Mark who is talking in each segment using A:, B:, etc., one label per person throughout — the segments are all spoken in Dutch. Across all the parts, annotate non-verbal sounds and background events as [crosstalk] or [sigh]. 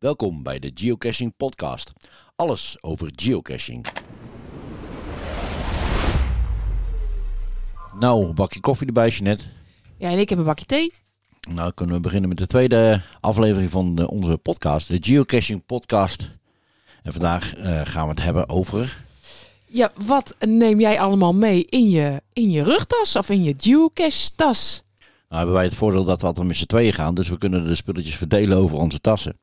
A: Welkom bij de Geocaching Podcast. Alles over geocaching. Nou, een bakje koffie erbij, Jeanette.
B: Ja, en ik heb een bakje thee.
A: Nou, kunnen we beginnen met de tweede aflevering van de- onze podcast, de Geocaching Podcast. En vandaag eh, gaan we het hebben over.
B: Ja, wat neem jij allemaal mee in je, in je rugtas of in je geocache tas?
A: Nou, hebben wij het voordeel dat we altijd met z'n tweeën gaan, dus we kunnen de spulletjes verdelen over onze
B: [laughs]
A: tassen.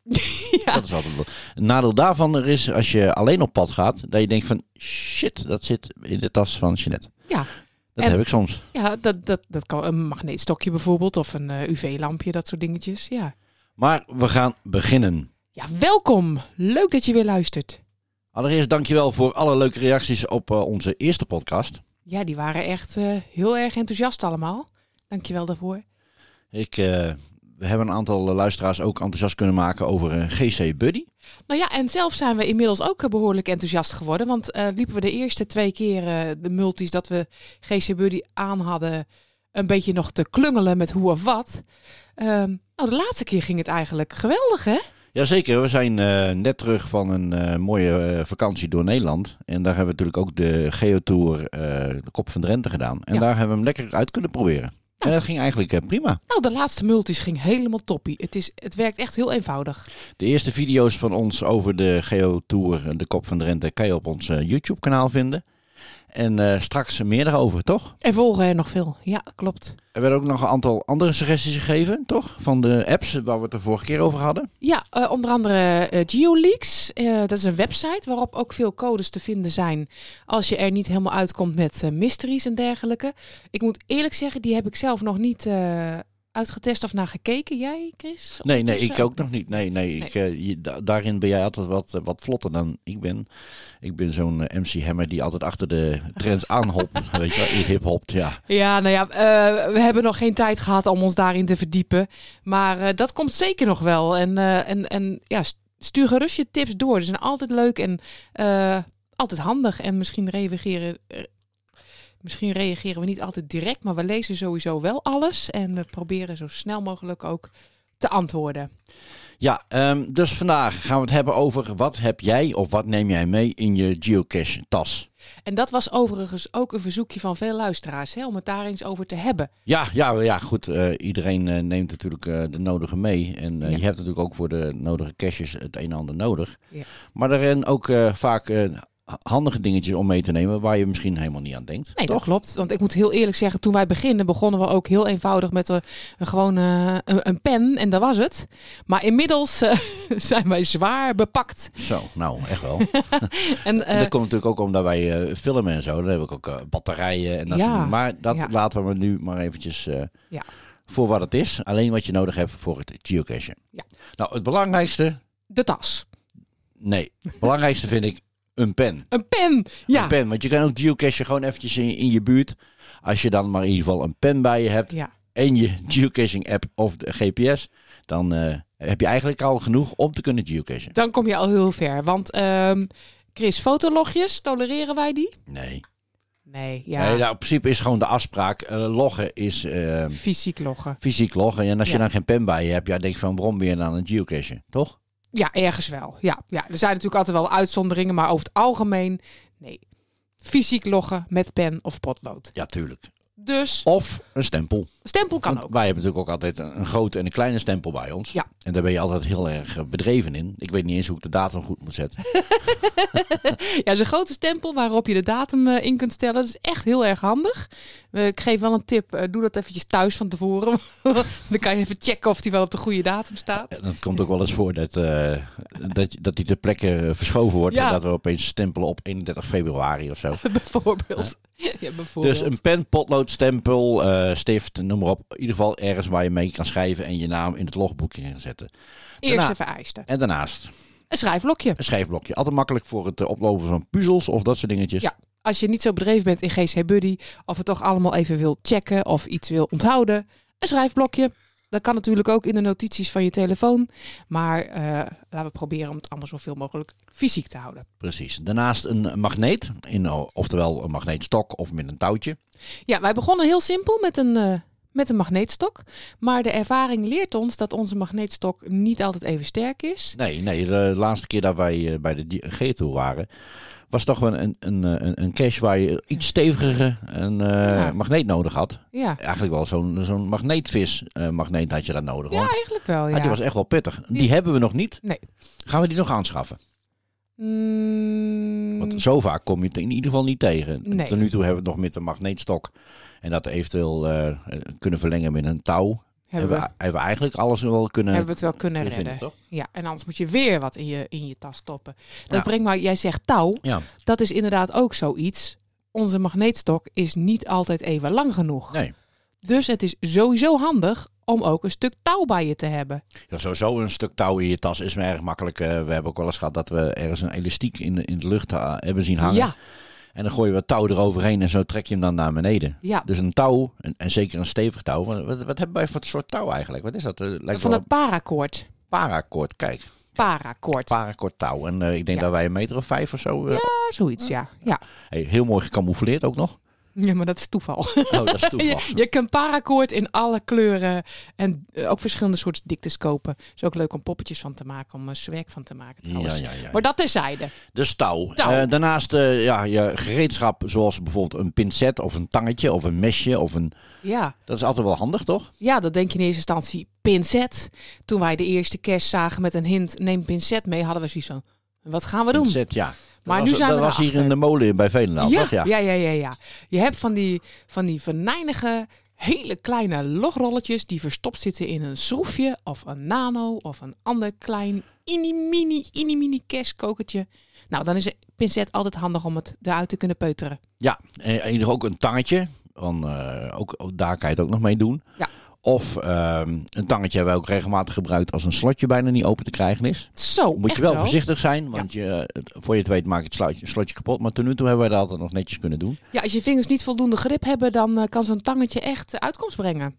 A: Dat is altijd wel. Een nadeel daarvan er is als je alleen op pad gaat, dat je denkt van shit, dat zit in de tas van Jeanette.
B: Ja.
A: Dat
B: En-
A: heb ik soms.
B: Ja, dat, dat, dat kan een magneetstokje bijvoorbeeld of een eh, UV-lampje, dat soort dingetjes. Ja.
A: Maar we gaan beginnen.
B: ja, welkom. Leuk dat je weer luistert.
A: Allereerst dankjewel voor alle leuke reacties op eh, onze eerste podcast.
B: Ja, die waren echt eh, heel erg enthousiast allemaal. Dankjewel daarvoor.
A: Ik, eh, we hebben een aantal eh, luisteraars ook enthousiast kunnen maken over eh, GC Buddy.
B: Nou ja, en zelf zijn we inmiddels ook eh, behoorlijk enthousiast geworden. Want eh, liepen we de eerste twee keer eh, de multis dat we GC Buddy aan hadden... een beetje nog te klungelen met hoe of wat. Ehm, nou, de laatste keer ging het eigenlijk geweldig, hè?
A: Jazeker, we zijn eh, net terug van een eh, mooie eh, vakantie door Nederland. En daar hebben we natuurlijk ook de Geotour eh de Kop van Drenthe gedaan. En
B: Ja.
A: daar hebben we hem lekker uit kunnen proberen. En dat ging eigenlijk eh, prima.
B: Nou, de laatste multis ging helemaal toppie. Het, is, het werkt echt heel eenvoudig.
A: De eerste video's van ons over de Geotour eh, de Kop van Drenthe kan je op ons eh, YouTube kanaal vinden. En eh, straks meer daarover, toch?
B: Er volgen er nog veel. Ja, klopt.
A: Er werden ook nog een aantal andere suggesties gegeven, toch? Van de apps waar we het de vorige keer over hadden.
B: Ja, eh, onder andere eh GeoLeaks. Eh, dat is een website waarop ook veel codes te vinden zijn. Als je er niet helemaal uitkomt met eh, mysteries en dergelijke. Ik moet eerlijk zeggen, die heb ik zelf nog niet eh, uitgetest of naar gekeken. Jij, Chris?
A: Nee, nee,
B: Ondertussen?
A: ik ook nog niet. Nee, nee, Ik, eh, je- da- daarin ben jij altijd wat, eh, wat vlotter dan ik ben. Ik ben zo'n eh, MC Hammer die altijd achter de
B: [laughs]
A: trends aanhopt. weet je wel, in hiphopt, ja.
B: Ja, nou ja, eh, we hebben nog geen tijd gehad om ons daarin te verdiepen. Maar eh, dat komt zeker nog wel. En, eh, en, en ja, st- stuur gerust je tips door. Die zijn altijd leuk en eh, altijd handig. En misschien reageren, eh, misschien reageren we niet altijd direct, maar we lezen sowieso wel alles. En we proberen zo snel mogelijk ook te antwoorden.
A: Ja, ehm, dus vandaag gaan we het hebben over wat heb jij of wat neem jij mee in je geocache-tas?
B: En dat was overigens ook een verzoekje van veel luisteraars, hè, om het daar eens over te hebben.
A: Ja, ja, ja goed. eh, iedereen eh, neemt natuurlijk eh, de nodige mee. En eh,
B: Ja.
A: je hebt natuurlijk ook voor de nodige caches het een en ander nodig.
B: Ja.
A: Maar er zijn ook eh, vaak eh, handige dingetjes om mee te nemen waar je misschien helemaal niet aan denkt.
B: Nee,
A: toch?
B: dat klopt. Want ik moet heel eerlijk zeggen, toen wij beginnen, begonnen we ook heel eenvoudig met eh, een, gewoon eh, een, een pen en dat was het. Maar inmiddels eh, [laughs] zijn wij zwaar bepakt.
A: Zo, nou, echt
B: [laughs]
A: wel.
B: En, eh,
A: En dat komt natuurlijk ook omdat wij eh, filmen en zo. Dan heb ik ook eh, batterijen en dat
B: Ja,
A: soort dingen. Maar dat
B: ja.
A: laten we nu maar eventjes eh,
B: Ja.
A: voor wat het is. Alleen wat je nodig hebt voor het geocachen.
B: Ja.
A: Nou, het belangrijkste...
B: de tas.
A: Nee, het belangrijkste vind ik een pen.
B: Een pen! Ja.
A: Een pen, want je kan ook geocachen gewoon eventjes in, in je buurt. Als je dan maar in ieder geval een pen bij je hebt
B: ja.
A: en je geocaching app of de GPS... dan eh, heb je eigenlijk al genoeg om te kunnen geocachen.
B: Dan kom je al heel ver. Want ehm, Chris, fotologjes, tolereren wij die?
A: Nee.
B: Nee, ja.
A: Nee, nou, in principe is gewoon de afspraak. eh, loggen is... eh,
B: Fysiek loggen.
A: fysiek loggen. En als je
B: Ja.
A: dan geen pen bij je hebt, ja, denk je van waarom ben je dan een geocache, toch?
B: Ja, ergens wel. Ja, ja. Er zijn natuurlijk altijd wel uitzonderingen, maar over het algemeen, nee. Fysiek loggen met pen of potlood.
A: Ja, tuurlijk.
B: Dus
A: Of een stempel.
B: stempel kan
A: Want
B: ook.
A: Wij hebben natuurlijk ook altijd een een grote en een kleine stempel bij ons.
B: Ja.
A: En daar ben je altijd heel erg eh, bedreven in. Ik weet niet eens hoe ik de datum goed moet
B: [laughs]
A: zetten.
B: Ja, zo'n grote stempel waarop je de datum eh, in kunt stellen. Dat is echt heel erg handig. Eh, ik geef wel een tip. eh, doe dat eventjes thuis van tevoren. [laughs] Dan kan je even checken of die wel op de goede datum staat. [laughs]
A: En dat komt ook wel eens voor dat, eh, dat, je- dat die ter plekke eh, verschoven wordt.
B: Ja.
A: En dat we opeens stempelen op 31 februari of zo.
B: [laughs] bijvoorbeeld. Ja, bijvoorbeeld.
A: Dus een pen, potlood, stempel, eh, stift, noem maar op. In ieder geval ergens waar je mee kan schrijven en je naam in het logboekje kan zetten.
B: Eerste
A: daarna-
B: vereiste.
A: En daarnaast
B: Een schrijfblokje.
A: een schrijfblokje. Altijd makkelijk voor het eh, oplopen van puzzels of dat soort dingetjes.
B: Ja. Als je niet zo bedreven bent in GC Buddy. Of het toch allemaal even wil checken of iets wil onthouden. Een schrijfblokje. Dat kan natuurlijk ook in de notities van je telefoon. Maar eh, laten we proberen om het allemaal zoveel mogelijk fysiek te houden.
A: Precies. Daarnaast een magneet, eh, in, oftewel een magneetstok of met een touwtje.
B: Ja, wij begonnen heel simpel met een, eh, met een magneetstok. Maar de ervaring leert ons dat onze magneetstok niet altijd even sterk is.
A: Nee, nee, de laatste keer dat wij eh, bij de di- G-tour waren, was toch wel een, een, eh, een, een cache waar je iets steviger een eh,
B: Ja.
A: magneet nodig had.
B: Ja,
A: Eigenlijk wel zo'n zo'n magneetvis-magneet had je dat nodig.
B: ja
A: want
B: eigenlijk wel.
A: ah,
B: Ja.
A: die was echt wel pittig. Die
B: Ja.
A: hebben we nog niet.
B: Nee.
A: Gaan we die nog aanschaffen?
B: Mm,
A: Want zo vaak kom je het in ieder geval niet tegen.
B: Nee.
A: Tot nu toe hebben we het nog met een magneetstok. En dat eventueel eh, kunnen verlengen met een touw.
B: hebben, we,
A: we, hebben we eigenlijk alles wel kunnen,
B: hebben we het wel kunnen
A: kunnen
B: redden.
A: vinden, toch?
B: Ja, en anders moet je weer wat in je, in je tas stoppen. Dat
A: Ja.
B: brengt maar, jij zegt touw,
A: Ja.
B: dat is inderdaad ook zoiets. Onze magneetstok is niet altijd even lang genoeg.
A: Nee.
B: Dus het is sowieso handig om ook een stuk touw bij je te hebben.
A: Ja, sowieso een stuk touw in je tas is me erg makkelijk. Eh, we hebben ook wel eens gehad dat we ergens een elastiek in de, in de lucht ha- hebben zien hangen.
B: Ja,
A: En dan gooi je wat touw eroverheen en zo trek je hem dan naar beneden.
B: ja.
A: Dus een touw, en, en zeker een stevig touw. Wat, wat wat hebben wij voor soort touw eigenlijk? Wat is dat? Eh, lijkt wel
B: van dat
A: een
B: parakoord.
A: paracord. Kijk,
B: Parakoord.
A: paracord touw. En eh, ik denk
B: Ja.
A: dat wij een meter of vijf of zo... eh,
B: Ja, zoiets, ja. ja.
A: hey, heel mooi gecamoufleerd ook
B: [laughs]
A: nog.
B: Ja, maar dat is toeval.
A: Oh, dat is toeval.
B: [laughs] Je, je kan parakoord in alle kleuren en eh, ook verschillende soorten diktes kopen. Is ook leuk om poppetjes van te maken, om een zwerk van te maken trouwens.
A: ja, ja.
B: Maar dat terzijde.
A: Dus touw.
B: Touw.
A: Eh, daarnaast eh, ja, je gereedschap zoals bijvoorbeeld een pincet of een tangetje of een mesje. Of een...
B: Ja.
A: Dat is altijd wel handig, toch?
B: ja, dat denk je in eerste instantie pincet. Toen wij de eerste kerst zagen met een hint, neem pincet mee, hadden we zoiets van, wat gaan we doen?
A: Pincet, ja.
B: Maar
A: dat
B: nu
A: was,
B: zijn
A: dat
B: we
A: was hier
B: erachter.
A: in de molen bij Veenendaal,
B: ja,
A: toch? Ja.
B: ja, ja, ja, ja. Je hebt van die, van die venijnige, hele kleine logrolletjes die verstopt zitten in een schroefje of een nano of een ander klein inimini, inimini kerstkokertje. Nou, dan is een pincet altijd handig om het eruit te kunnen peuteren.
A: Ja, en en ook een tangetje. Want eh, ook, ook daar kan je het ook nog mee doen.
B: Ja.
A: Of ehm, een tangetje hebben we ook regelmatig gebruikt als een slotje bijna niet open te krijgen is.
B: Zo,
A: Moet
B: echt
A: je wel
B: zo.
A: voorzichtig zijn, want je, eh, voor je het weet maak je het sluitje- slotje kapot. Maar tot nu toe hebben wij dat altijd nog netjes kunnen doen.
B: Ja, als je vingers niet voldoende grip hebben, dan eh, kan zo'n tangetje echt eh, uitkomst brengen.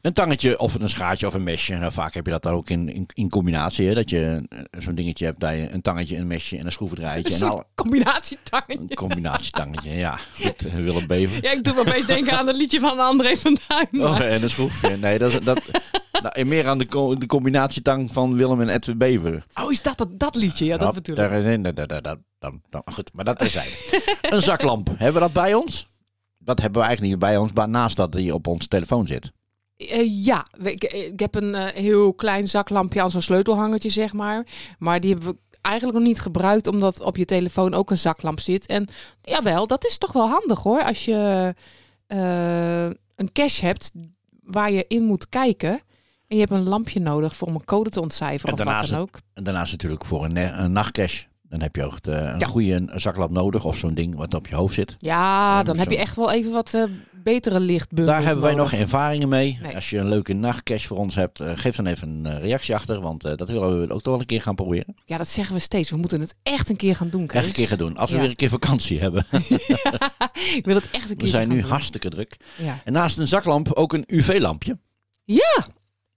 A: Een tangetje of een schaartje of een mesje. Nou, vaak heb je dat dan ook in, in, in combinatie. Hè? Dat je eh, zo'n dingetje hebt dat je een tangetje, een mesje en een
B: Een
A: schroevendraaitje. en
B: soort
A: alle,
B: combinatietangetje.
A: een combinatietangetje, ja. Goed, eh, Willem Bever.
B: [laughs] Ja, ik doe me opeens denken aan het liedje van André van Duin.
A: Oh, en een schroefje. Nee, dat, is- dat, nou, en meer aan de, co- de combinatietang van Willem en Edwin Bever.
B: Oh, is dat dat, dat liedje? Ja, dat bedoel ik.
A: daar, nee, nee, nee, nee, nee, dan, dan, Goed, maar dat is Een zaklamp. Hebben we dat bij ons? Dat hebben we eigenlijk niet bij ons, maar naast dat die op onze telefoon zit.
B: Eh, ja, We- ik, ik heb een eh, heel klein zaklampje aan zo'n sleutelhangertje, zeg maar. Maar die hebben we eigenlijk nog niet gebruikt, omdat op je telefoon ook een zaklamp zit. En jawel, dat is toch wel handig hoor. Als je eh, een cache hebt waar je in moet kijken. En je hebt een lampje nodig voor om een code te ontcijferen
A: En
B: of wat
A: daarnaast
B: dan ook.
A: En daarnaast natuurlijk voor een, ne- een nachtcash. Dan heb je ook het, eh, een
B: Ja.
A: goede zaklamp nodig of zo'n ding wat op je hoofd zit.
B: Ja, dan
A: zo.
B: heb je echt wel even wat eh, betere lichtbundels
A: Daar hebben wij
B: nodig.
A: nog geen ervaringen mee.
B: Nee.
A: Als je een leuke nachtcash voor ons hebt, eh, geef dan even een eh, reactie achter. Want eh, dat willen we ook toch wel een keer gaan proberen.
B: Ja, dat zeggen we steeds. We moeten het echt een keer gaan doen, Kees.
A: Echt een keer gaan doen. Als we
B: Ja.
A: weer een keer vakantie [laughs] hebben.
B: Ik wil het echt een keer
A: We zijn
B: gaan
A: nu
B: doen.
A: hartstikke druk.
B: Ja.
A: En naast een zaklamp ook een UV-lampje.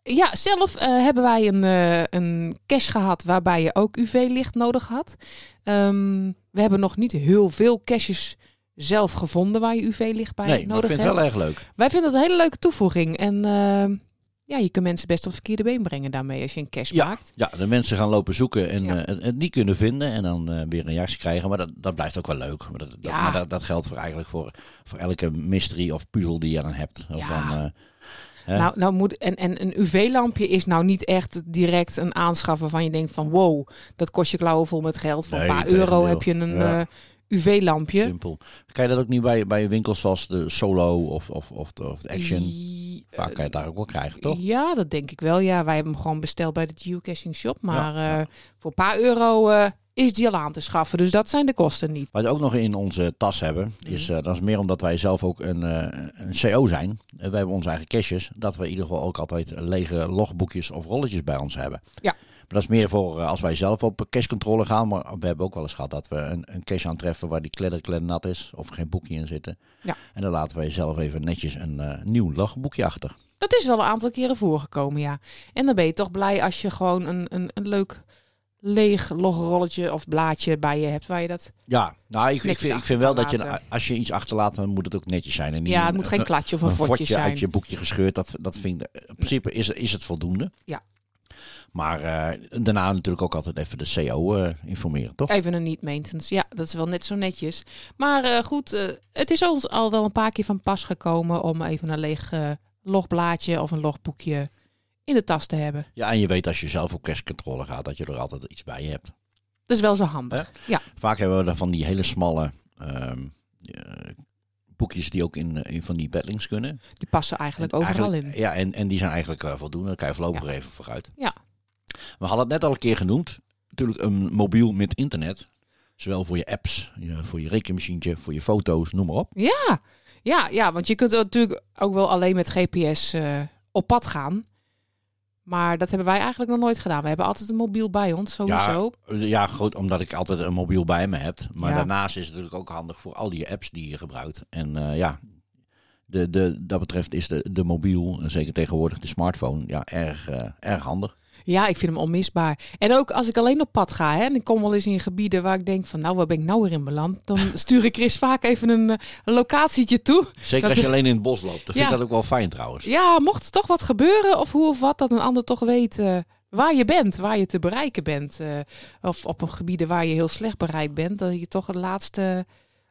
B: Ja, zelf eh, hebben wij een, eh een cache gehad waarbij je ook UV-licht nodig had. Ehm, we hebben nog niet heel veel caches zelf gevonden waar je UV-licht bij
A: Nee, maar ik
B: nodig
A: vind
B: hebt.
A: het wel e- erg leuk.
B: Wij vinden dat een hele leuke toevoeging. En ehm, ja, je kunt mensen best op het verkeerde been brengen daarmee als je een cache maakt.
A: Ja, de mensen gaan lopen zoeken en
B: Ja.
A: eh, het, het niet kunnen vinden. En dan eh, weer een reactie krijgen. Maar dat, dat blijft ook wel leuk. Maar dat, dat-
B: Ja.
A: maar dat, dat geldt voor eigenlijk voor, voor elke mystery of puzzel die je dan hebt. Of
B: Ja.
A: dan, eh, hè.
B: Nou, nou moet, en, en een UV-lampje is nou niet echt direct een aanschaf waarvan je denkt van wow, dat kost je klauwen vol met geld. Voor
A: Nee,
B: een paar euro
A: tegendeel.
B: heb je een
A: Ja.
B: eh, UV-lampje.
A: Simpel. Kan je dat ook niet bij, bij winkels zoals de Solo of, of, of, de, of de Action?
B: I-
A: Vaak kan je het daar ook wel krijgen, toch?
B: Ja, dat denk ik wel. Ja, wij hebben hem gewoon besteld bij de geocaching shop. Maar eh, voor een paar euro eh, is die al aan te schaffen. Dus dat zijn de kosten niet.
A: Wat we ook nog in onze tas hebben,
B: Mhm.
A: is eh, dat is meer omdat wij zelf ook een, eh, een CO zijn. Eh, wij hebben onze eigen caches, dat we in ieder geval ook altijd lege logboekjes of rolletjes bij ons hebben.
B: Ja.
A: Maar dat is meer voor eh, als wij zelf op cashcontrole gaan. Maar we hebben ook wel eens gehad dat we een, een cache aantreffen waar die kledder nat is of geen boekje in zitten.
B: Ja.
A: En dan laten wij zelf even netjes een eh, nieuw logboekje achter.
B: Dat is wel een aantal keren voorgekomen, ja. En dan ben je toch blij als je gewoon een, een, een leuk leeg logrolletje of blaadje bij je hebt waar je dat...
A: Ja, nou, ik, ik,
B: Niks
A: vind, ik vind wel dat je,
B: achterlaten.
A: als je iets achterlaat, dan moet het ook netjes zijn. En niet
B: Ja,
A: een-
B: het moet geen
A: een-
B: klatje of
A: eh, een
B: een vortje
A: fotje
B: zijn.
A: uit je boekje gescheurd. Dat, dat vind ik, in principe is, is het voldoende.
B: Ja.
A: Maar eh, daarna natuurlijk ook altijd even de CO eh, informeren, toch?
B: Even een niet-maintenance. Ja, dat is wel net zo netjes. Maar eh, goed, eh, het is ons al wel een paar keer van pas gekomen om even een leeg eh, logblaadje of een logboekje in de tas te hebben.
A: Ja, en je weet als je zelf op kerstcontrole gaat, dat je er altijd iets bij hebt.
B: Dat is wel zo handig.
A: Vaak hebben we dan van die hele smalle ehm, eh, boekjes die ook in, in van die bedlings kunnen.
B: Die passen eigenlijk
A: En
B: overal
A: eigenlijk-
B: in.
A: Ja, en, en die zijn eigenlijk eh, voldoende. Daar kan je voorlopig even vooruit.
B: Ja.
A: We hadden het net al een keer genoemd. Natuurlijk een mobiel met internet. Zowel voor je apps, je- voor je rekenmachientje, voor je foto's, noem maar op.
B: Ja. Ja, ja, want je kunt natuurlijk ook wel alleen met GPS eh, op pad gaan. Maar dat hebben wij eigenlijk nog nooit gedaan. We hebben altijd een mobiel bij ons, sowieso.
A: Ja, goed, omdat ik altijd een mobiel bij me heb. Maar
B: Ja.
A: daarnaast is het natuurlijk ook handig voor al die apps die je gebruikt. En eh, ja, de, de, dat betreft is de, de mobiel, en zeker tegenwoordig de smartphone, ja, erg, eh, erg handig.
B: Ja, ik vind hem onmisbaar. En ook als ik alleen op pad ga hè, en ik kom wel eens in gebieden waar ik denk van nou, waar ben ik nou weer in beland? Dan [laughs] stuur ik Chris vaak even een, eh, een locatietje toe.
A: Zeker
B: Dat-
A: als je alleen in het bos loopt. Dan vind ik
B: Ja.
A: dat ook wel fijn trouwens.
B: Ja, mocht er toch wat gebeuren of hoe of wat, dat een ander toch weet eh, waar je bent, waar je te bereiken bent. eh, of op een gebieden waar je heel slecht bereikt bent, dat je toch de laatste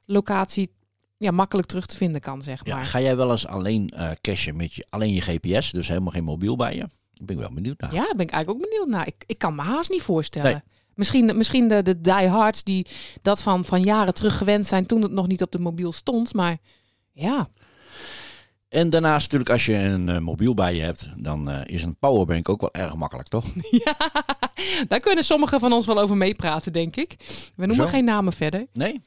B: locatie ja, makkelijk terug te vinden kan, zeg
A: Ja,
B: maar.
A: ga jij wel eens alleen eh cashen met je, alleen je GPS, dus helemaal geen mobiel bij je? Ik ben wel benieuwd naar.
B: Ja, daar ben ik eigenlijk ook benieuwd naar. Ik, ik kan me haast niet voorstellen. Misschien, misschien de, de diehards die dat van, van jaren terug gewend zijn toen het nog niet op de mobiel stond. Maar ja,
A: En daarnaast natuurlijk als je een eh, mobiel bij je hebt, dan eh, is een powerbank ook wel erg makkelijk, toch?
B: daar kunnen sommigen van ons wel over meepraten, denk ik. We noemen
A: Zo.
B: geen namen verder.
A: Nee?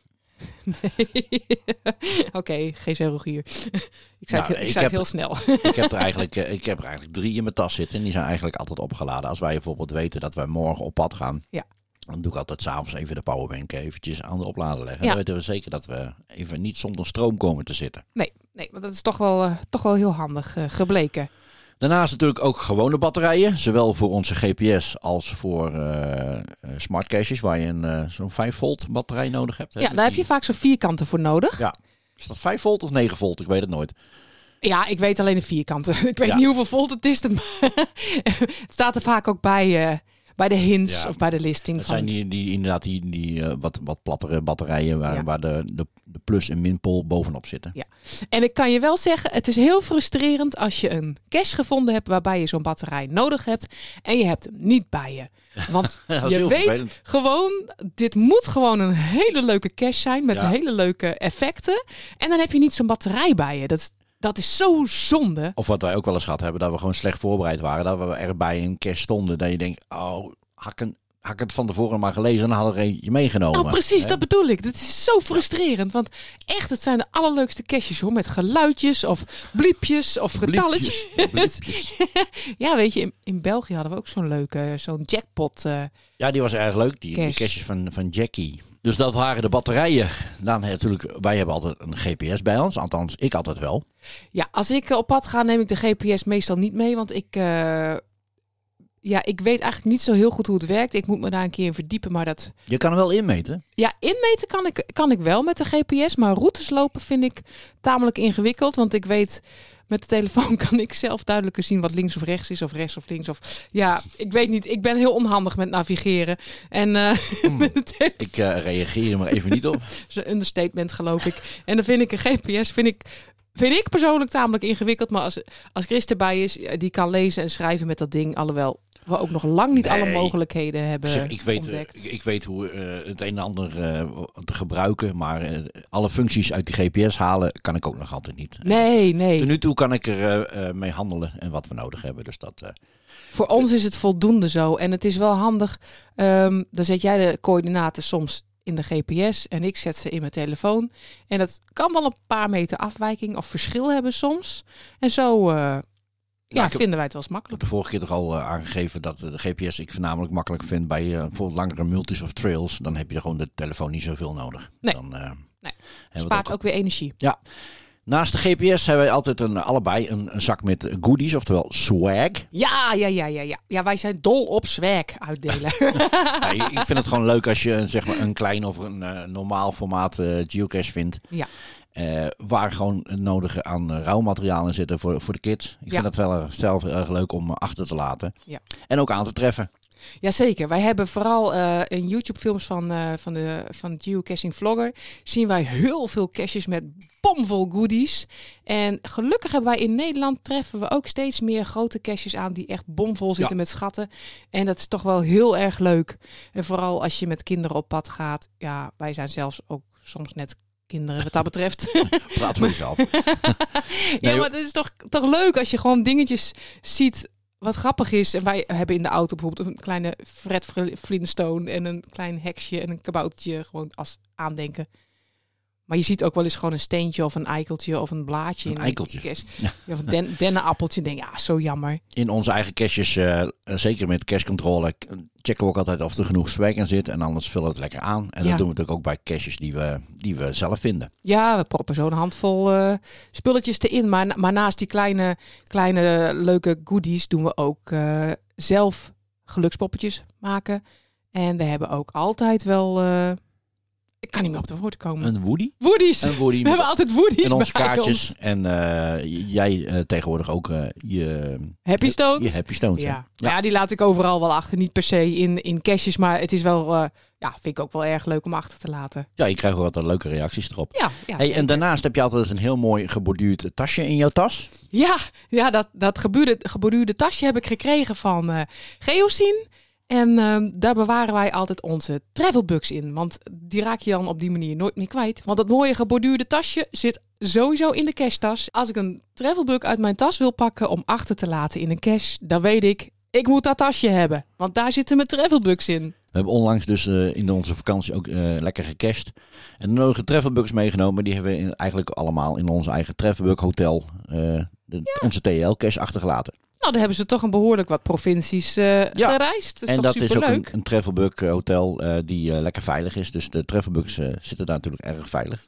B: [laughs] Oké, geen zerogier. [laughs] ik zei
A: Nou,
B: het, heel- ik
A: ik
B: zei het
A: heb-
B: heel snel. [laughs]
A: ik, heb er eigenlijk, eh, ik heb er eigenlijk drie in mijn tas zitten en die zijn eigenlijk altijd opgeladen. Als wij bijvoorbeeld weten dat wij morgen op pad gaan,
B: Ja.
A: dan doe ik altijd s'avonds even de powerbank eventjes aan de oplader leggen.
B: Ja.
A: Dan weten we zeker dat we even niet zonder stroom komen te zitten.
B: Nee, nee, want dat is toch wel, eh, toch wel heel handig eh, gebleken.
A: Daarnaast natuurlijk ook gewone batterijen, zowel voor onze GPS als voor eh eh, smartcases waar je een eh, zo'n 5 volt batterij nodig hebt. hè.
B: Ja, daar heb je vaak zo'n vierkante voor nodig.
A: Is dat 5 volt of 9 volt? Ik weet het nooit.
B: Ja, ik weet alleen de vierkante. [laughs] Ik weet
A: Ja.
B: niet hoeveel volt het is. [laughs] dat- het staat er vaak ook bij, eh, bij de hints
A: Ja.
B: of bij de listing.
A: Dat
B: Van,
A: zijn die, die inderdaad die, die eh, wat, wat plattere batterijen waar,
B: Ja.
A: waar de, de, de plus- en minpool bovenop zitten.
B: En ik kan je wel zeggen, het is heel frustrerend als je een cache gevonden hebt waarbij je zo'n batterij nodig hebt en je hebt hem niet
A: [laughs]
B: bij je. Want
A: Dat is
B: je
A: heel
B: weet
A: vervelend.
B: gewoon, dit moet gewoon een hele leuke cache zijn met
A: Ja.
B: hele leuke effecten. En dan heb je niet zo'n batterij bij je. Dat, is- dat is zo zonde. Nou,
A: Of wat wij ook wel eens gehad hebben, dat we gewoon slecht voorbereid waren. Dat we er bij een kerst stonden. Dat je denkt, oh, had ik, een- had ik het van tevoren maar gelezen en dan had er eentje meegenomen.
B: Nou, precies,
A: Hè?
B: dat bedoel ik. Dat is zo frustrerend. Want echt, het zijn de allerleukste caches hoor. Met geluidjes of bliepjes of getalletjes.
A: Bliepjes, [laughs] bliepjes.
B: Ja, weet je, in, in België hadden we ook zo'n leuke, zo'n jackpot. eh,
A: Ja, die was erg leuk, die, die
B: Kerst.
A: kerstjes van, van Jackie. Dus dat waren de batterijen. Dan natuurlijk, wij hebben altijd een GPS bij ons. Althans, ik altijd wel.
B: Ja, als ik eh, op pad ga, neem ik de GPS meestal niet mee. Want ik, eh, ja, ik weet eigenlijk niet zo heel goed hoe het werkt. Ik moet me daar een keer in verdiepen. Maar dat.
A: Je kan er wel inmeten.
B: Ja, inmeten kan ik, kan ik wel met de GPS. Maar routes lopen vind ik tamelijk ingewikkeld. Want ik weet. Met de telefoon [laughs] kan ik zelf duidelijker zien wat links of rechts is, of rechts of links. Of ja, ik weet niet. Ik ben heel onhandig met navigeren. En eh, [laughs]
A: Hmm.
B: met de tele-
A: Ik eh, reageer er maar even niet
B: [laughs]
A: op.
B: is een understatement, geloof ik. En dan vind ik een GPS, vind ik, vind ik persoonlijk tamelijk ingewikkeld. Maar als, als Chris erbij is, eh, die kan lezen en schrijven met dat ding. Alhoewel we ook nog lang niet alle
A: Nee.
B: mogelijkheden hebben
A: Zeg, ik, weet, eh,
B: ontdekt.
A: ik, ik weet hoe eh, het een en ander eh, te gebruiken. Maar eh, alle functies uit die GPS halen kan ik ook nog altijd niet.
B: nee,
A: Tot
B: nee.
A: nu toe kan ik er eh, eh, mee handelen en wat we nodig hebben. Dus dat, eh,
B: Voor ons is het voldoende zo. En het is wel handig. ehm, dan zet jij de coördinaten soms in de GPS en ik zet ze in mijn telefoon. En dat kan wel een paar meter afwijking of verschil hebben soms. En zo eh, ja,
A: ik heb-
B: vinden wij het wel eens
A: ik heb
B: makkelijk.
A: de vorige keer toch al eh, aangegeven dat eh, de GPS ik voornamelijk makkelijk vind bij eh, bijvoorbeeld langere multis of trails. Dan heb je gewoon de telefoon niet zoveel nodig.
B: Nee.
A: Dan, eh, hebben we het
B: Spaart
A: ook-
B: ook weer energie.
A: Naast de GPS hebben wij altijd een, allebei een, een zak met goodies, oftewel swag.
B: Ja, ja, ja, ja, ja. Ja, wij zijn dol op swag uitdelen.
A: Ja, ik ik vind het gewoon leuk als je een, zeg maar, een klein of een eh, normaal formaat eh, geocache vindt.
B: Ja.
A: Eh, waar gewoon het nodige aan eh, rouwmateriaal in zitten voor, voor de kids. Ik
B: Ja.
A: vind dat wel eh, zelf erg leuk om eh, achter te laten.
B: Ja.
A: En ook aan te treffen.
B: Jazeker, wij hebben vooral eh, in YouTube-films van, eh, van, de, van Geocaching Vlogger... zien wij heel veel caches met bomvol goodies. En gelukkig hebben wij in Nederland treffen we ook steeds meer grote caches aan... die echt bomvol zitten met schatten. En dat is toch wel heel erg leuk. En vooral als je met kinderen op pad gaat. Ja, wij zijn zelfs ook soms net kinderen wat dat betreft.
A: Praat voor
B: [laughs]
A: jezelf.
B: ja,
A: joh.
B: maar het is toch, toch leuk als je gewoon dingetjes ziet wat grappig is. En wij hebben in de auto bijvoorbeeld een kleine Fred Fl- Flintstone en een klein heksje en een kaboutertje gewoon als aandenken. Maar je ziet ook wel eens gewoon een steentje of een eikeltje of een blaadje.
A: Een
B: in
A: eikeltje.
B: de kerst.
A: Ja.
B: Of een den- dennenappeltje. Denk, ja, zo jammer.
A: In onze eigen caches, eh, eh, zeker met cache controle, k- checken we ook altijd of er genoeg swag in zit. En anders vullen we het lekker aan. En
B: Ja.
A: dat doen we natuurlijk ook bij caches die we, die we zelf vinden.
B: Ja, we proppen zo'n handvol eh, spulletjes erin. Maar, na- maar naast die kleine, kleine leuke goodies doen we ook eh, zelf gelukspoppetjes maken. En we hebben ook altijd wel... eh, ik kan niet meer op de woorden komen.
A: Een
B: [laughs]
A: Woody.
B: woodies!
A: Een Woody
B: we
A: met
B: hebben altijd woodies
A: in onze
B: bij
A: kaartjes. En eh, j- jij eh, tegenwoordig ook eh, je,
B: ons. Happy
A: je
B: Stones.
A: Happy Stones. hè?
B: ja. Ja. die laat ik overal wel achter. Niet per se in, in caches, maar het is wel... eh, ja, vind ik ook wel erg leuk om achter te laten.
A: ja, je krijgt wel wat leuke reacties erop.
B: Ja, ja,
A: Hey,
B: zeker.
A: en daarnaast heb je altijd dus een heel mooi geborduurd tasje in jouw tas.
B: Ja, ja dat, dat gebuurde, geborduurde tasje heb ik gekregen van eh Geosyn. En ehm, daar bewaren wij altijd onze travelbugs in. Want die raak je dan op die manier nooit meer kwijt. Want dat mooie geborduurde tasje zit sowieso in de cashtas. Als ik een travelbug uit mijn tas wil pakken om achter te laten in een cash, dan weet ik, ik moet dat tasje hebben. Want daar zitten mijn travelbugs in.
A: We hebben onlangs dus eh, in onze vakantie ook eh, lekker gecashed. En de nodige travelbugs meegenomen. Maar die hebben we in- eigenlijk allemaal in ons eigen travelbug hotel, eh, de, onze TL-cash achtergelaten.
B: Nou, dan hebben ze toch een behoorlijk wat provincies eh,
A: Ja.
B: gereisd. Dat is
A: en
B: toch
A: dat is ook
B: superleuk?
A: een, een travelbug hotel eh, die eh, lekker veilig is. Dus de travelbugs eh, zitten daar natuurlijk erg veilig.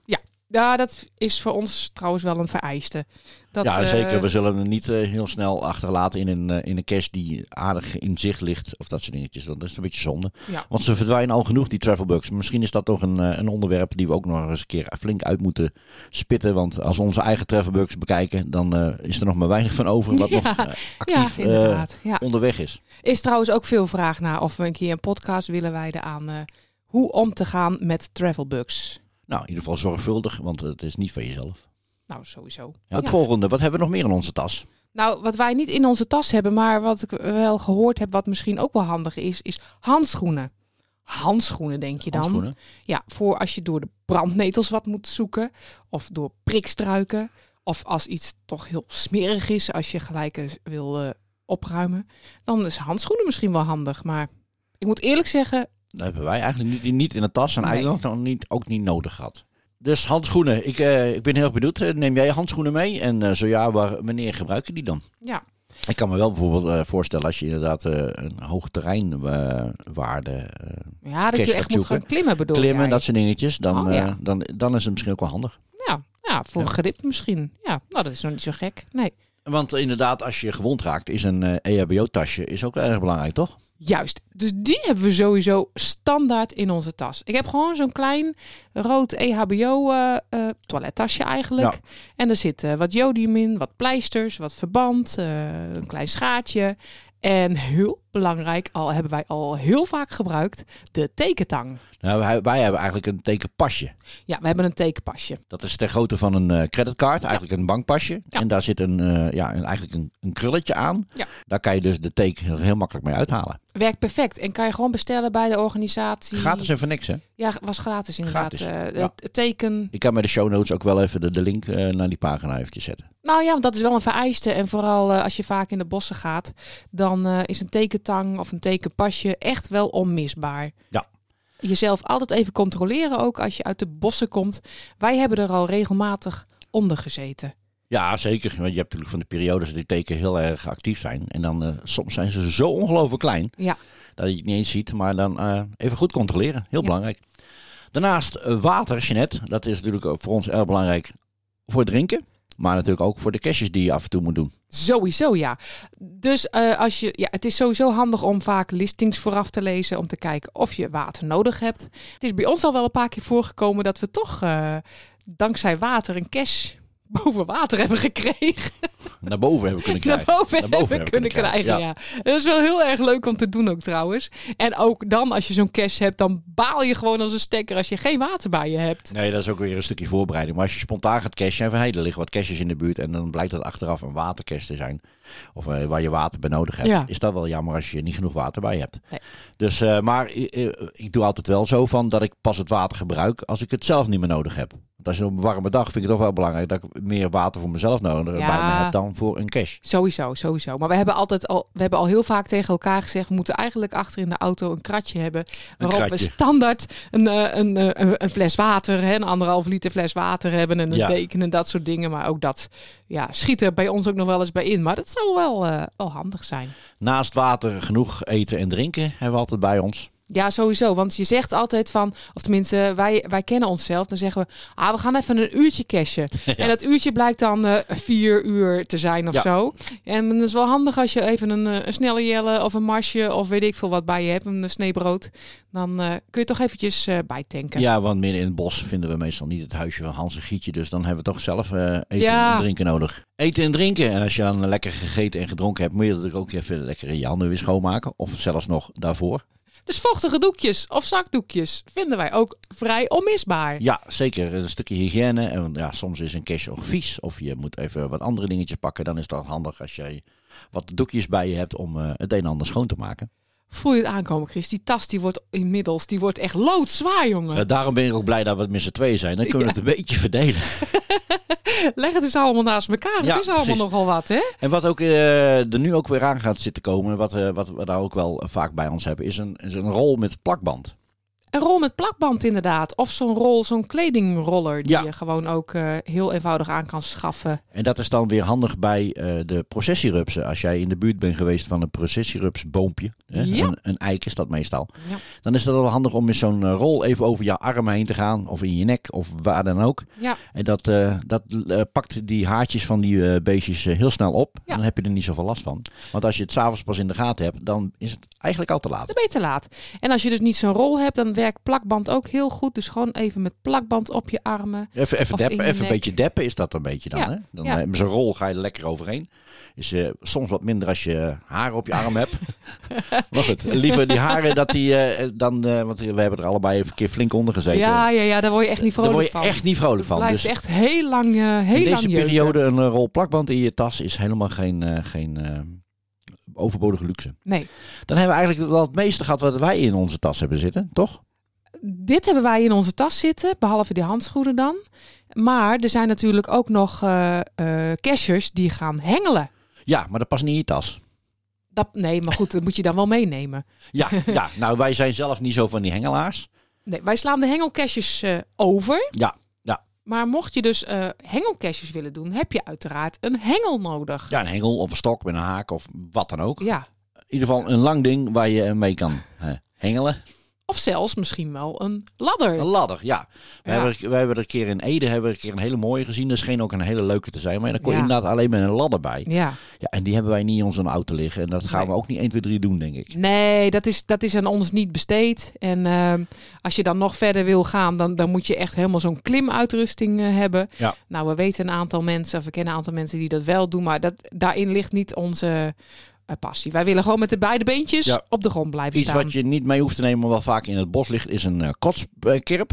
B: Ja, dat is voor ons trouwens wel een vereiste. Dat,
A: ja,
B: eh,
A: zeker. We zullen hem niet eh, heel snel achterlaten in een, eh, in een cash die aardig in zicht ligt. Of dat soort dingetjes. Dat is een beetje zonde.
B: Ja.
A: Want ze verdwijnen al genoeg, die travelbugs. Misschien is dat toch een, eh, een onderwerp die we ook nog eens een keer flink uit moeten spitten. Want als we onze eigen travelbugs bekijken, dan eh, is er nog maar weinig van over wat
B: [laughs] Ja.
A: nog eh, actief
B: ja,
A: eh,
B: inderdaad. ja.
A: onderweg is.
B: Is trouwens ook veel vraag naar of we een keer een podcast willen wijden aan eh, hoe om te gaan met travelbugs.
A: Nou, in ieder geval zorgvuldig, want het is niet van jezelf.
B: Nou, sowieso.
A: Ja, het
B: Ja.
A: volgende, wat hebben we nog meer in onze tas?
B: Nou, wat wij niet in onze tas hebben, maar wat ik wel gehoord heb, wat misschien ook wel handig is, is handschoenen. Handschoenen, denk je dan?
A: Handschoenen.
B: Ja, voor als je door de brandnetels wat moet zoeken, of door prikstruiken, of als iets toch heel smerig is, als je gelijk eens wil eh, opruimen, dan is handschoenen misschien wel handig. Maar ik moet eerlijk zeggen,
A: Dat hebben wij eigenlijk niet, in- niet in de tas en
B: Nee.
A: eigenlijk ook nog niet, ook niet nodig gehad. Dus handschoenen, ik, eh, ik ben heel erg benieuwd. Eh, Neem jij je handschoenen mee? En eh, zo ja, waar, wanneer gebruik je die dan?
B: ja,
A: Ik kan me wel bijvoorbeeld eh, voorstellen als je inderdaad eh, een hoog terreinwaarde eh,
B: Ja, dat je
A: Cash
B: echt
A: gaat
B: moet gaan
A: zoeken.
B: klimmen bedoel
A: klimmen,
B: jij?
A: dat soort dingetjes, dan,
B: Oh, ja.
A: eh, dan, dan is het misschien ook wel handig.
B: Ja, ja voor
A: Ja.
B: grip misschien. Ja, nou dat is nog niet zo gek. Nee,
A: Want inderdaad, als je gewond raakt, is een eh, EHBO-tasje is ook erg belangrijk, toch?
B: juist. Dus die hebben we sowieso standaard in onze tas. Ik heb gewoon zo'n klein rood EHBO eh, eh, toilettasje eigenlijk.
A: Ja.
B: En er zit eh, wat jodium in, wat pleisters, wat verband, eh, een klein schaartje. En heel belangrijk, al hebben wij al heel vaak gebruikt, de tekentang.
A: Nou, wij, wij hebben eigenlijk een tekenpasje.
B: Ja, we hebben een tekenpasje.
A: Dat is ter grootte van een eh, creditcard, eigenlijk een bankpasje.
B: Ja.
A: En daar zit een, eh, ja, een, eigenlijk een, een krulletje aan.
B: Ja.
A: Daar kan je dus de teken heel makkelijk mee uithalen.
B: Werkt perfect en kan je gewoon bestellen bij de organisatie.
A: Gratis en voor niks, hè?
B: Ja, was gratis inderdaad.
A: Gratis,
B: Eh,
A: ja.
B: Het teken.
A: Ik kan bij de show notes ook wel even de, de link eh, naar die pagina eventjes zetten.
B: Nou ja, want dat is wel een vereiste. En vooral eh, als je vaak in de bossen gaat, dan eh, is een tekentang of een tekenpasje echt wel onmisbaar.
A: Ja.
B: Jezelf altijd even controleren ook als je uit de bossen komt. Wij hebben er al regelmatig onder gezeten.
A: Ja, zeker. Want je hebt natuurlijk van de periodes dat die teken heel erg actief zijn. En dan eh, soms zijn ze zo ongelooflijk klein
B: Ja.
A: dat je het niet eens ziet. Maar dan eh, even goed controleren. Heel
B: Ja.
A: belangrijk. Daarnaast eh, water, Jeanette. Dat is natuurlijk ook voor ons erg belangrijk voor drinken. Maar natuurlijk ook voor de caches die je af en toe moet doen.
B: Sowieso, ja. Dus eh, als je, ja, het is sowieso handig om vaak listings vooraf te lezen. Om te kijken of je water nodig hebt. Het is bij ons al wel een paar keer voorgekomen dat we toch eh, dankzij water een cash [laughs] boven water hebben gekregen.
A: Naar boven hebben kunnen
B: Naar
A: krijgen.
B: boven,
A: Naar boven
B: hebben kunnen krijgen,
A: ja.
B: ja. Dat is wel heel erg leuk om te doen ook trouwens. En ook dan, als je zo'n cash hebt, dan baal je gewoon als een stekker als je geen water bij je hebt.
A: Nee, dat is ook weer een stukje voorbereiding. Maar als je spontaan gaat cashen en van hé, er liggen wat caches in de buurt en dan blijkt dat achteraf een watercache te zijn. Of eh, waar je water bij nodig hebt.
B: Ja.
A: Is dat wel jammer als je niet genoeg water bij hebt.
B: Nee.
A: Dus, eh, maar eh, eh, ik doe altijd wel zo van dat ik pas het water gebruik als ik het zelf niet meer nodig heb. Want als je op een warme dag vind ik het toch wel belangrijk dat ik meer water voor mezelf nodig
B: Ja.
A: bij me heb dan voor een cache.
B: Sowieso, sowieso. Maar we hebben altijd al, we hebben al heel vaak tegen elkaar gezegd, we moeten eigenlijk achter in de auto een kratje hebben. Waarop
A: kratje.
B: we standaard een, eh, een, eh, een, een fles water, hè, een anderhalf liter fles water hebben en een
A: Ja.
B: deken en dat soort dingen. Maar ook dat ja, schiet er bij ons ook nog wel eens bij in. Maar dat zou wel, eh, wel handig zijn.
A: Naast water genoeg eten en drinken hebben we altijd bij ons.
B: Ja, sowieso. Want je zegt altijd van, of tenminste, wij, wij kennen onszelf. Dan zeggen we, ah, we gaan even een uurtje
A: [laughs]
B: cashen. En dat uurtje blijkt dan eh, vier uur te zijn of
A: Ja.
B: zo. En het is wel handig als je even een, eh, een snelle jelle of een marsje of weet ik veel wat bij je hebt. Een sneebrood. Dan eh, kun je toch eventjes eh bijtanken.
A: Ja, want midden in het bos vinden we meestal niet het huisje van Hans en Gietje. Dus dan hebben we toch zelf eh, eten
B: Ja.
A: en drinken nodig. Eten en drinken. En als je dan lekker gegeten en gedronken hebt, moet je natuurlijk ook even lekker je handen weer schoonmaken. Of zelfs nog daarvoor.
B: Dus vochtige doekjes of zakdoekjes vinden wij ook vrij onmisbaar.
A: Ja, zeker. Een stukje hygiëne. En ja, soms is een cash ook vies. Of je moet even wat andere dingetjes pakken. Dan is dat handig als je wat doekjes bij je hebt om eh, het een en ander schoon te maken.
B: Voel je het aankomen, Chris? Die tas die wordt inmiddels, die wordt echt loodzwaar, jongen.
A: Eh, daarom ben ik ook blij dat we het met z'n tweeën zijn. Dan kunnen we het een beetje verdelen.
B: Leg het eens allemaal naast elkaar.
A: Ja,
B: het is allemaal
A: precies.
B: nogal wat, hè?
A: En wat ook eh, er nu ook weer aan gaat zitten komen, wat, eh, wat we daar ook wel vaak bij ons hebben, is een, is een rol met plakband.
B: Een rol met plakband inderdaad. Of zo'n rol, zo'n kledingroller die
A: Ja.
B: je gewoon ook eh, heel eenvoudig aan kan schaffen.
A: En dat is dan weer handig bij eh, de processierupsen. Als jij in de buurt bent geweest van een processierupsboompje, hè,
B: Ja.
A: een, een eik is dat meestal,
B: Ja.
A: dan is het wel handig om met zo'n eh, rol even over je arm heen te gaan, of in je nek, of waar dan ook.
B: Ja,
A: En dat, eh, dat eh, pakt die haartjes van die eh, beestjes eh, heel snel op.
B: Ja.
A: Dan heb je er niet zoveel last van. Want als je het s'avonds pas in de gaten hebt, dan is het eigenlijk al te laat.
B: dan ben je te laat. En als je dus niet zo'n rol hebt, dan werkt plakband ook heel goed. Dus gewoon even met plakband op je armen.
A: Even, even,
B: Of in
A: deppen,
B: je
A: even een
B: nek.
A: beetje deppen is dat een beetje dan.
B: Ja,
A: hè? dan
B: ja.
A: eh, met zo'n rol ga je er lekker overheen. Is eh, soms wat minder als je haren op je arm
B: [laughs]
A: hebt. maar goed, liever die haren dat die eh, dan... eh, want we hebben er allebei een keer flink onder gezeten.
B: Ja, ja, ja, daar word je echt niet
A: Daar
B: vrolijk
A: word je
B: van.
A: echt niet vrolijk van.
B: Blijft
A: Dus
B: echt heel lang, eh, heel
A: in
B: lang
A: deze
B: jeuken.
A: periode een eh, rol plakband in je tas is helemaal geen... eh, geen eh, overbodige luxe.
B: Nee,
A: Dan hebben we eigenlijk wel het meeste gehad wat wij in onze tas hebben zitten, toch?
B: dit hebben wij in onze tas zitten, behalve die handschoenen dan. Maar er zijn natuurlijk ook nog eh eh, cashers die gaan hengelen.
A: Ja, maar dat past niet in je tas.
B: Dat, nee, maar goed, dat moet je dan wel meenemen. [laughs]
A: Ja, ja, nou wij zijn zelf niet zo van die hengelaars.
B: Nee, wij slaan de hengelkastjes eh, over.
A: Ja, ja.
B: Maar mocht je dus eh hengelkastjes willen doen, heb je uiteraraad een hengel nodig.
A: Ja, een hengel of een stok met een haak of wat dan ook.
B: Ja.
A: In ieder geval een lang ding waar je eh, mee kan eh, hengelen.
B: Of zelfs misschien wel een ladder.
A: Een ladder, ja. We,
B: Ja.
A: Hebben, er- we hebben er een keer in Ede hebben we een keer een hele mooie gezien. Dat scheen ook een hele leuke te zijn. Maar dan kon je
B: Ja.
A: inderdaad alleen met een ladder bij.
B: Ja.
A: Ja, en die hebben wij niet in onze auto liggen. En dat gaan
B: Nee.
A: we ook niet 1, 2, 3 doen, denk ik.
B: Nee, dat is, dat is aan ons niet besteed. En ehm, als je dan nog verder wil gaan, dan, dan moet je echt helemaal zo'n klimuitrusting eh, hebben.
A: Ja.
B: Nou, we weten een aantal mensen, of we kennen een aantal mensen die dat wel doen. Maar dat, daarin ligt niet onze eh, passie. Wij willen gewoon met de beide beentjes
A: Ja.
B: op de grond blijven
A: Iets
B: staan.
A: wat je niet mee hoeft te nemen, maar wel vaak in het bos ligt, is een eh, kotskirp.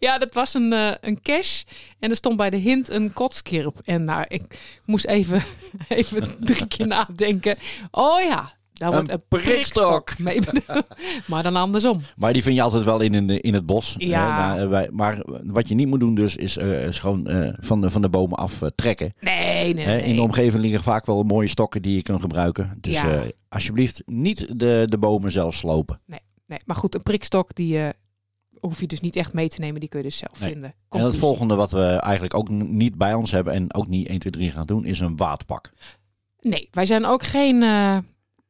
B: Ja, dat was een, eh, een cash. En er stond bij de hint een kotskirp. En nou, ik moest even, [laughs] even drie keer nadenken. Oh ja, daar wordt
A: Een
B: een,
A: prikstok.
B: prikstok mee bedoeld. [laughs] Maar dan andersom.
A: Maar die vind je altijd wel in, een, eh, in het bos.
B: Ja.
A: Eh, nou, eh, wij- maar wat je niet moet doen dus, is eh, is gewoon eh, van, de, van de bomen af eh, trekken.
B: Nee, nee,
A: Hè,
B: nee.
A: in de omgeving liggen vaak wel mooie stokken die je kan gebruiken. Dus
B: Ja.
A: eh, alsjeblieft niet de, de bomen zelf slopen.
B: nee. Maar goed, een prikstok die eh, hoef je dus niet echt mee te nemen. Die kun je dus zelf
A: Nee.
B: vinden.
A: En het
B: Conclusie.
A: volgende wat we eigenlijk ook n- niet bij ons hebben en ook niet 1, 2, 3 gaan doen, is een waadpak.
B: Nee, wij zijn ook geen eh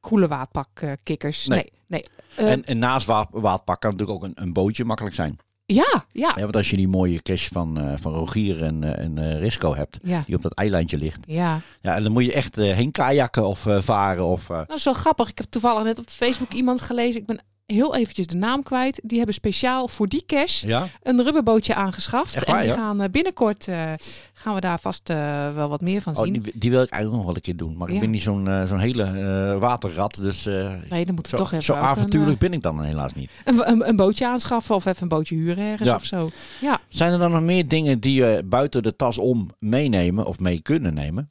B: koele waadpakkikkers.
A: Nee.
B: nee. nee. Eh,
A: en, en naast wa- waadpak kan natuurlijk ook een, een bootje makkelijk zijn.
B: Ja, ja.
A: Ja, want als je die mooie cash van, eh, van Rogier en, eh, en eh, Risco hebt,
B: Ja.
A: die op dat eilandje ligt.
B: Ja.
A: Ja, en dan moet je echt eh, heen kajakken of eh, varen. Of, eh,
B: Nou, zo grappig. Ik heb toevallig net op Facebook iemand gelezen. Ik ben heel eventjes de naam kwijt. Die hebben speciaal voor die cash
A: ja?
B: een rubberbootje aangeschaft.
A: Echt waar,
B: en die
A: ja?
B: gaan eh, binnenkort eh, gaan we daar vast eh, wel wat meer van
A: Oh,
B: zien.
A: die, die wil ik eigenlijk nog wel een keer doen. Maar ik
B: Ja.
A: ben niet zo'n eh, zo'n hele eh, waterrat. Dus eh,
B: Nee, dan moeten
A: zo,
B: we toch even
A: zo
B: ook een,
A: avontuurlijk
B: eh,
A: ben ik dan helaas niet.
B: een, een, een bootje aanschaffen of even een bootje huren ergens
A: Ja.
B: of zo. Ja.
A: Zijn er dan nog meer dingen die je buiten de tas om meenemen of mee kunnen nemen?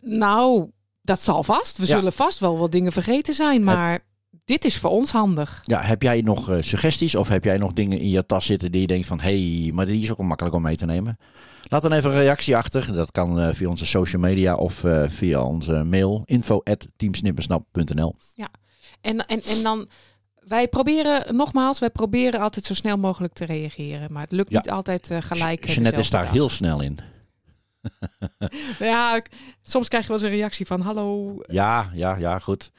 B: Nou, dat zal vast. We
A: Ja.
B: zullen vast wel wat dingen vergeten zijn, maar dit is voor ons handig.
A: Ja, heb jij nog eh, suggesties of heb jij nog dingen in je tas zitten die je denkt van... hé, hey, maar die is ook wel makkelijk om mee te nemen? Laat dan even een reactie achter. Dat kan eh, via onze social media of eh, via onze mail info at teamsnippersnap.nl.
B: En, en, en dan, wij proberen, nogmaals, wij proberen altijd zo snel mogelijk te reageren. Maar het lukt
A: Ja.
B: niet altijd eh, gelijk. eh,
A: Jeanette is
B: dezelfde
A: daar
B: dag.
A: heel snel in.
B: Nou Ja, ik- soms krijg je wel eens een reactie van hallo.
A: Ja, ja, ja, goed.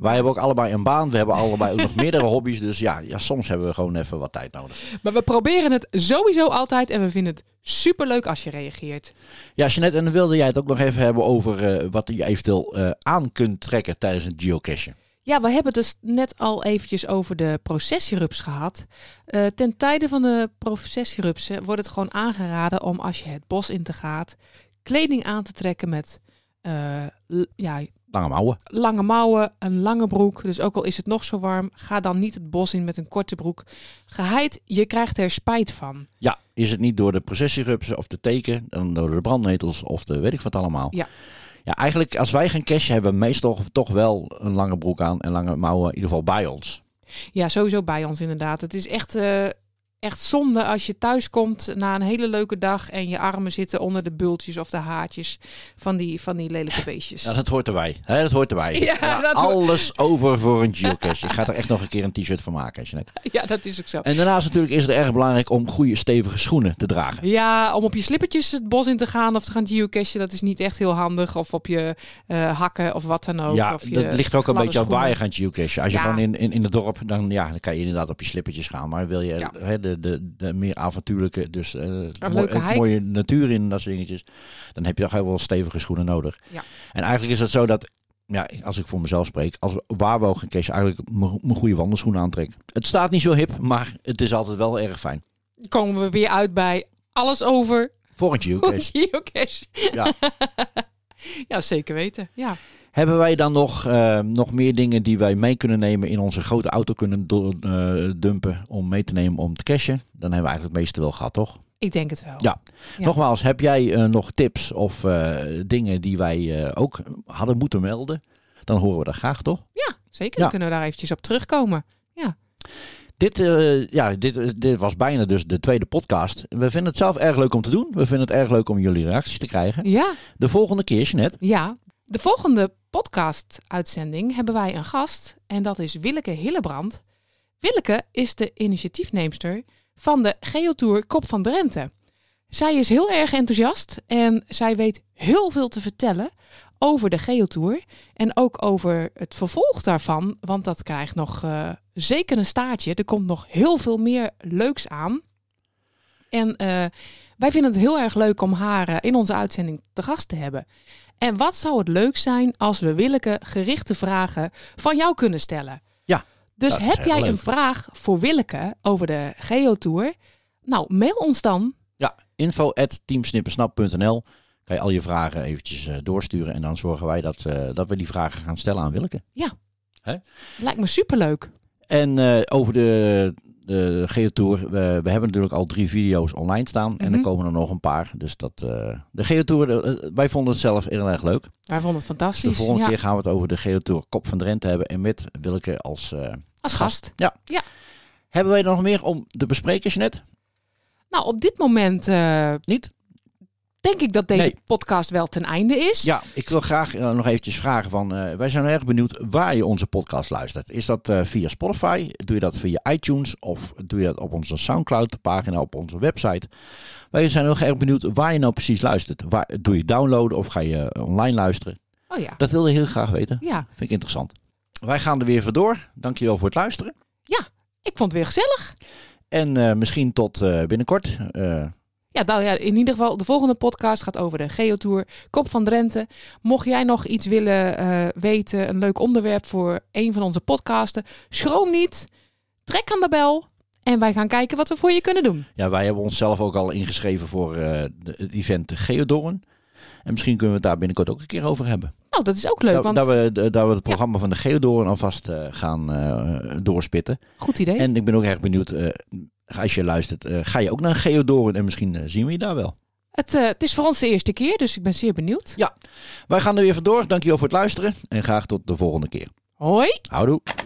A: Wij hebben ook allebei een baan. We hebben allebei ook
B: [laughs]
A: nog meerdere hobby's. Dus ja, ja, soms hebben we gewoon even wat tijd nodig.
B: Maar we proberen het sowieso altijd en we vinden het superleuk als je reageert.
A: Ja, Jeanette, en dan wilde jij het ook nog even hebben over eh, wat je eventueel eh, aan kunt trekken tijdens een geocache.
B: Ja, we hebben het dus net al eventjes over de processierups gehad. Eh, ten tijde van de processierupsen wordt het gewoon aangeraden om als je het bos in te gaat, kleding aan te trekken met eh, l- ja,
A: Lange mouwen.
B: lange mouwen, een lange broek. Dus ook al is het nog zo warm, ga dan niet het bos in met een korte broek. Geheid, je krijgt er spijt van.
A: Ja, is het niet door de processierupsen of de teken, dan door de brandnetels of de weet ik wat allemaal.
B: Ja.
A: Ja, eigenlijk als wij geen cache hebben, meestal toch wel een lange broek aan en lange mouwen in ieder geval bij ons.
B: Ja, sowieso bij ons inderdaad. Het is echt, eh, echt zonde als je thuis komt na een hele leuke dag en je armen zitten onder de bultjes of de haartjes van die, van die lelijke beestjes.
A: Ja, dat hoort erbij. Hè, dat hoort erbij.
B: Ja, dat hoort-
A: alles over voor een geocache. Ik ga er echt nog een keer een t-shirt van maken, Jeanette.
B: [laughs] Ja, dat is ook zo.
A: En daarnaast natuurlijk is het erg belangrijk om goede stevige schoenen te dragen.
B: Ja, om op je slippertjes het bos in te gaan of te gaan geocachen, dat is niet echt heel handig. Of op je eh, hakken of wat dan ook.
A: ja,
B: of je
A: dat ligt er ook een
B: gladde
A: beetje aan waar je
B: schoenen.
A: gaat geocachen. Als je
B: Ja.
A: gewoon in, in, in het dorp, dan, ja, dan kan je inderdaad op je slippertjes gaan. Maar wil je
B: Ja.
A: hè, de, de, de meer avontuurlijke, dus eh, mooi,
B: leuke
A: het
B: hike.
A: mooie natuur in en dat soort dingetjes, dan heb je toch heel wel stevige schoenen nodig.
B: Ja.
A: En eigenlijk is het zo dat, ja, als ik voor mezelf spreek, als waar we ook gaan cachen, eigenlijk mijn mijn goede wandelschoenen aantrekken. Het staat niet zo hip, maar het is altijd wel erg fijn.
B: Komen we weer uit bij alles over
A: [laughs] Voor een
B: [laughs]
A: geocache.
B: geocache.
A: ja.
B: [laughs] Ja, zeker weten. Ja.
A: Hebben wij dan nog, eh, nog meer dingen die wij mee kunnen nemen in onze grote auto kunnen do- eh, dumpen om mee te nemen om te cashen? Dan hebben we eigenlijk het meeste wel gehad, toch?
B: Ik denk het wel.
A: Ja.
B: Ja.
A: Nogmaals, heb jij eh, nog tips of eh, dingen die wij eh, ook hadden moeten melden? Dan horen we dat graag, toch?
B: Ja, zeker.
A: Ja.
B: Dan kunnen we daar eventjes op terugkomen.
A: Dit, eh, ja, dit, is- dit was bijna dus de tweede podcast. We vinden het zelf erg leuk om te doen. We vinden het erg leuk om jullie reacties te krijgen.
B: Ja,
A: De volgende keer, Jeanette.
B: ja. De volgende podcast-uitzending hebben wij een gast. En dat is Willeke Hillebrand. Willeke is de initiatiefneemster van de Geotour Kop van Drenthe. Zij is heel erg enthousiast en zij weet heel veel te vertellen over de Geotour. En ook over het vervolg daarvan, want dat krijgt nog eh, zeker een staartje. Er komt nog heel veel meer leuks aan. En eh, wij vinden het heel erg leuk om haar eh, in onze uitzending te gast te hebben. En wat zou het leuk zijn als we Willeke gerichte vragen van jou kunnen stellen?
A: Ja,
B: Dus
A: dat is
B: heb
A: heel
B: jij
A: leuk.
B: een vraag voor Willeke over de Geotour? Nou, mail ons dan.
A: Ja, info at teamsnippersnap.nl. Kan je al je vragen eventjes eh, doorsturen. En dan zorgen wij dat, eh, dat we die vragen gaan stellen aan Willeke.
B: Lijkt me superleuk.
A: En eh, over de, de Geotour. We, we hebben natuurlijk al drie video's online staan. En
B: Mhm.
A: er komen er nog een paar. Dus dat, eh, de Geotour, eh, wij vonden het zelf heel erg leuk.
B: Wij vonden het
A: Dus
B: fantastisch.
A: de volgende
B: Ja,
A: keer gaan we het over de Geotour Kop van Drenthe hebben. En met Willeke als... eh,
B: Als gast.
A: hebben wij er nog meer om te bespreken, net?
B: Nou, op dit moment eh,
A: Niet?
B: denk ik dat deze
A: Nee.
B: podcast wel ten einde is.
A: Ja, ik wil graag eh, nog eventjes vragen van... eh, wij zijn erg benieuwd waar je onze podcast luistert. Is dat eh, via Spotify? Doe je dat via iTunes? Of doe je dat op onze Soundcloud-pagina, op onze website? Wij zijn heel erg benieuwd waar je nou precies luistert. Waar, doe je downloaden of ga je eh, online luisteren?
B: Oh ja.
A: Dat wil je heel graag weten.
B: Ja,
A: Vind ik interessant. Wij gaan er weer vandoor. Dankjewel voor het luisteren.
B: ik vond het weer gezellig.
A: En eh, misschien tot eh, binnenkort. Eh,
B: Ja, nou ja, in ieder geval, de volgende podcast gaat over de Geotour Kop van Drenthe. Mocht jij nog iets willen eh, weten, een leuk onderwerp voor een van onze podcasten, schroom niet, trek aan de bel en wij gaan kijken wat we voor je kunnen doen.
A: ja, wij hebben onszelf ook al ingeschreven voor eh, de- het event Geodoren. En misschien kunnen we het daar binnenkort ook een keer over hebben.
B: Nou, dat is ook leuk,
A: dat,
B: want
A: dat we, dat we het programma van de Geodoren alvast eh, gaan eh, doorspitten.
B: goed idee.
A: En ik ben ook erg benieuwd, eh, als je luistert, eh, ga je ook naar een Geodoren en misschien eh, zien we je daar wel.
B: Het, eh, het is voor ons de eerste keer, dus ik ben zeer benieuwd.
A: Wij gaan er weer vandoor. Dankjewel voor het luisteren en graag tot de volgende keer.
B: Hoi!
A: Houdoe.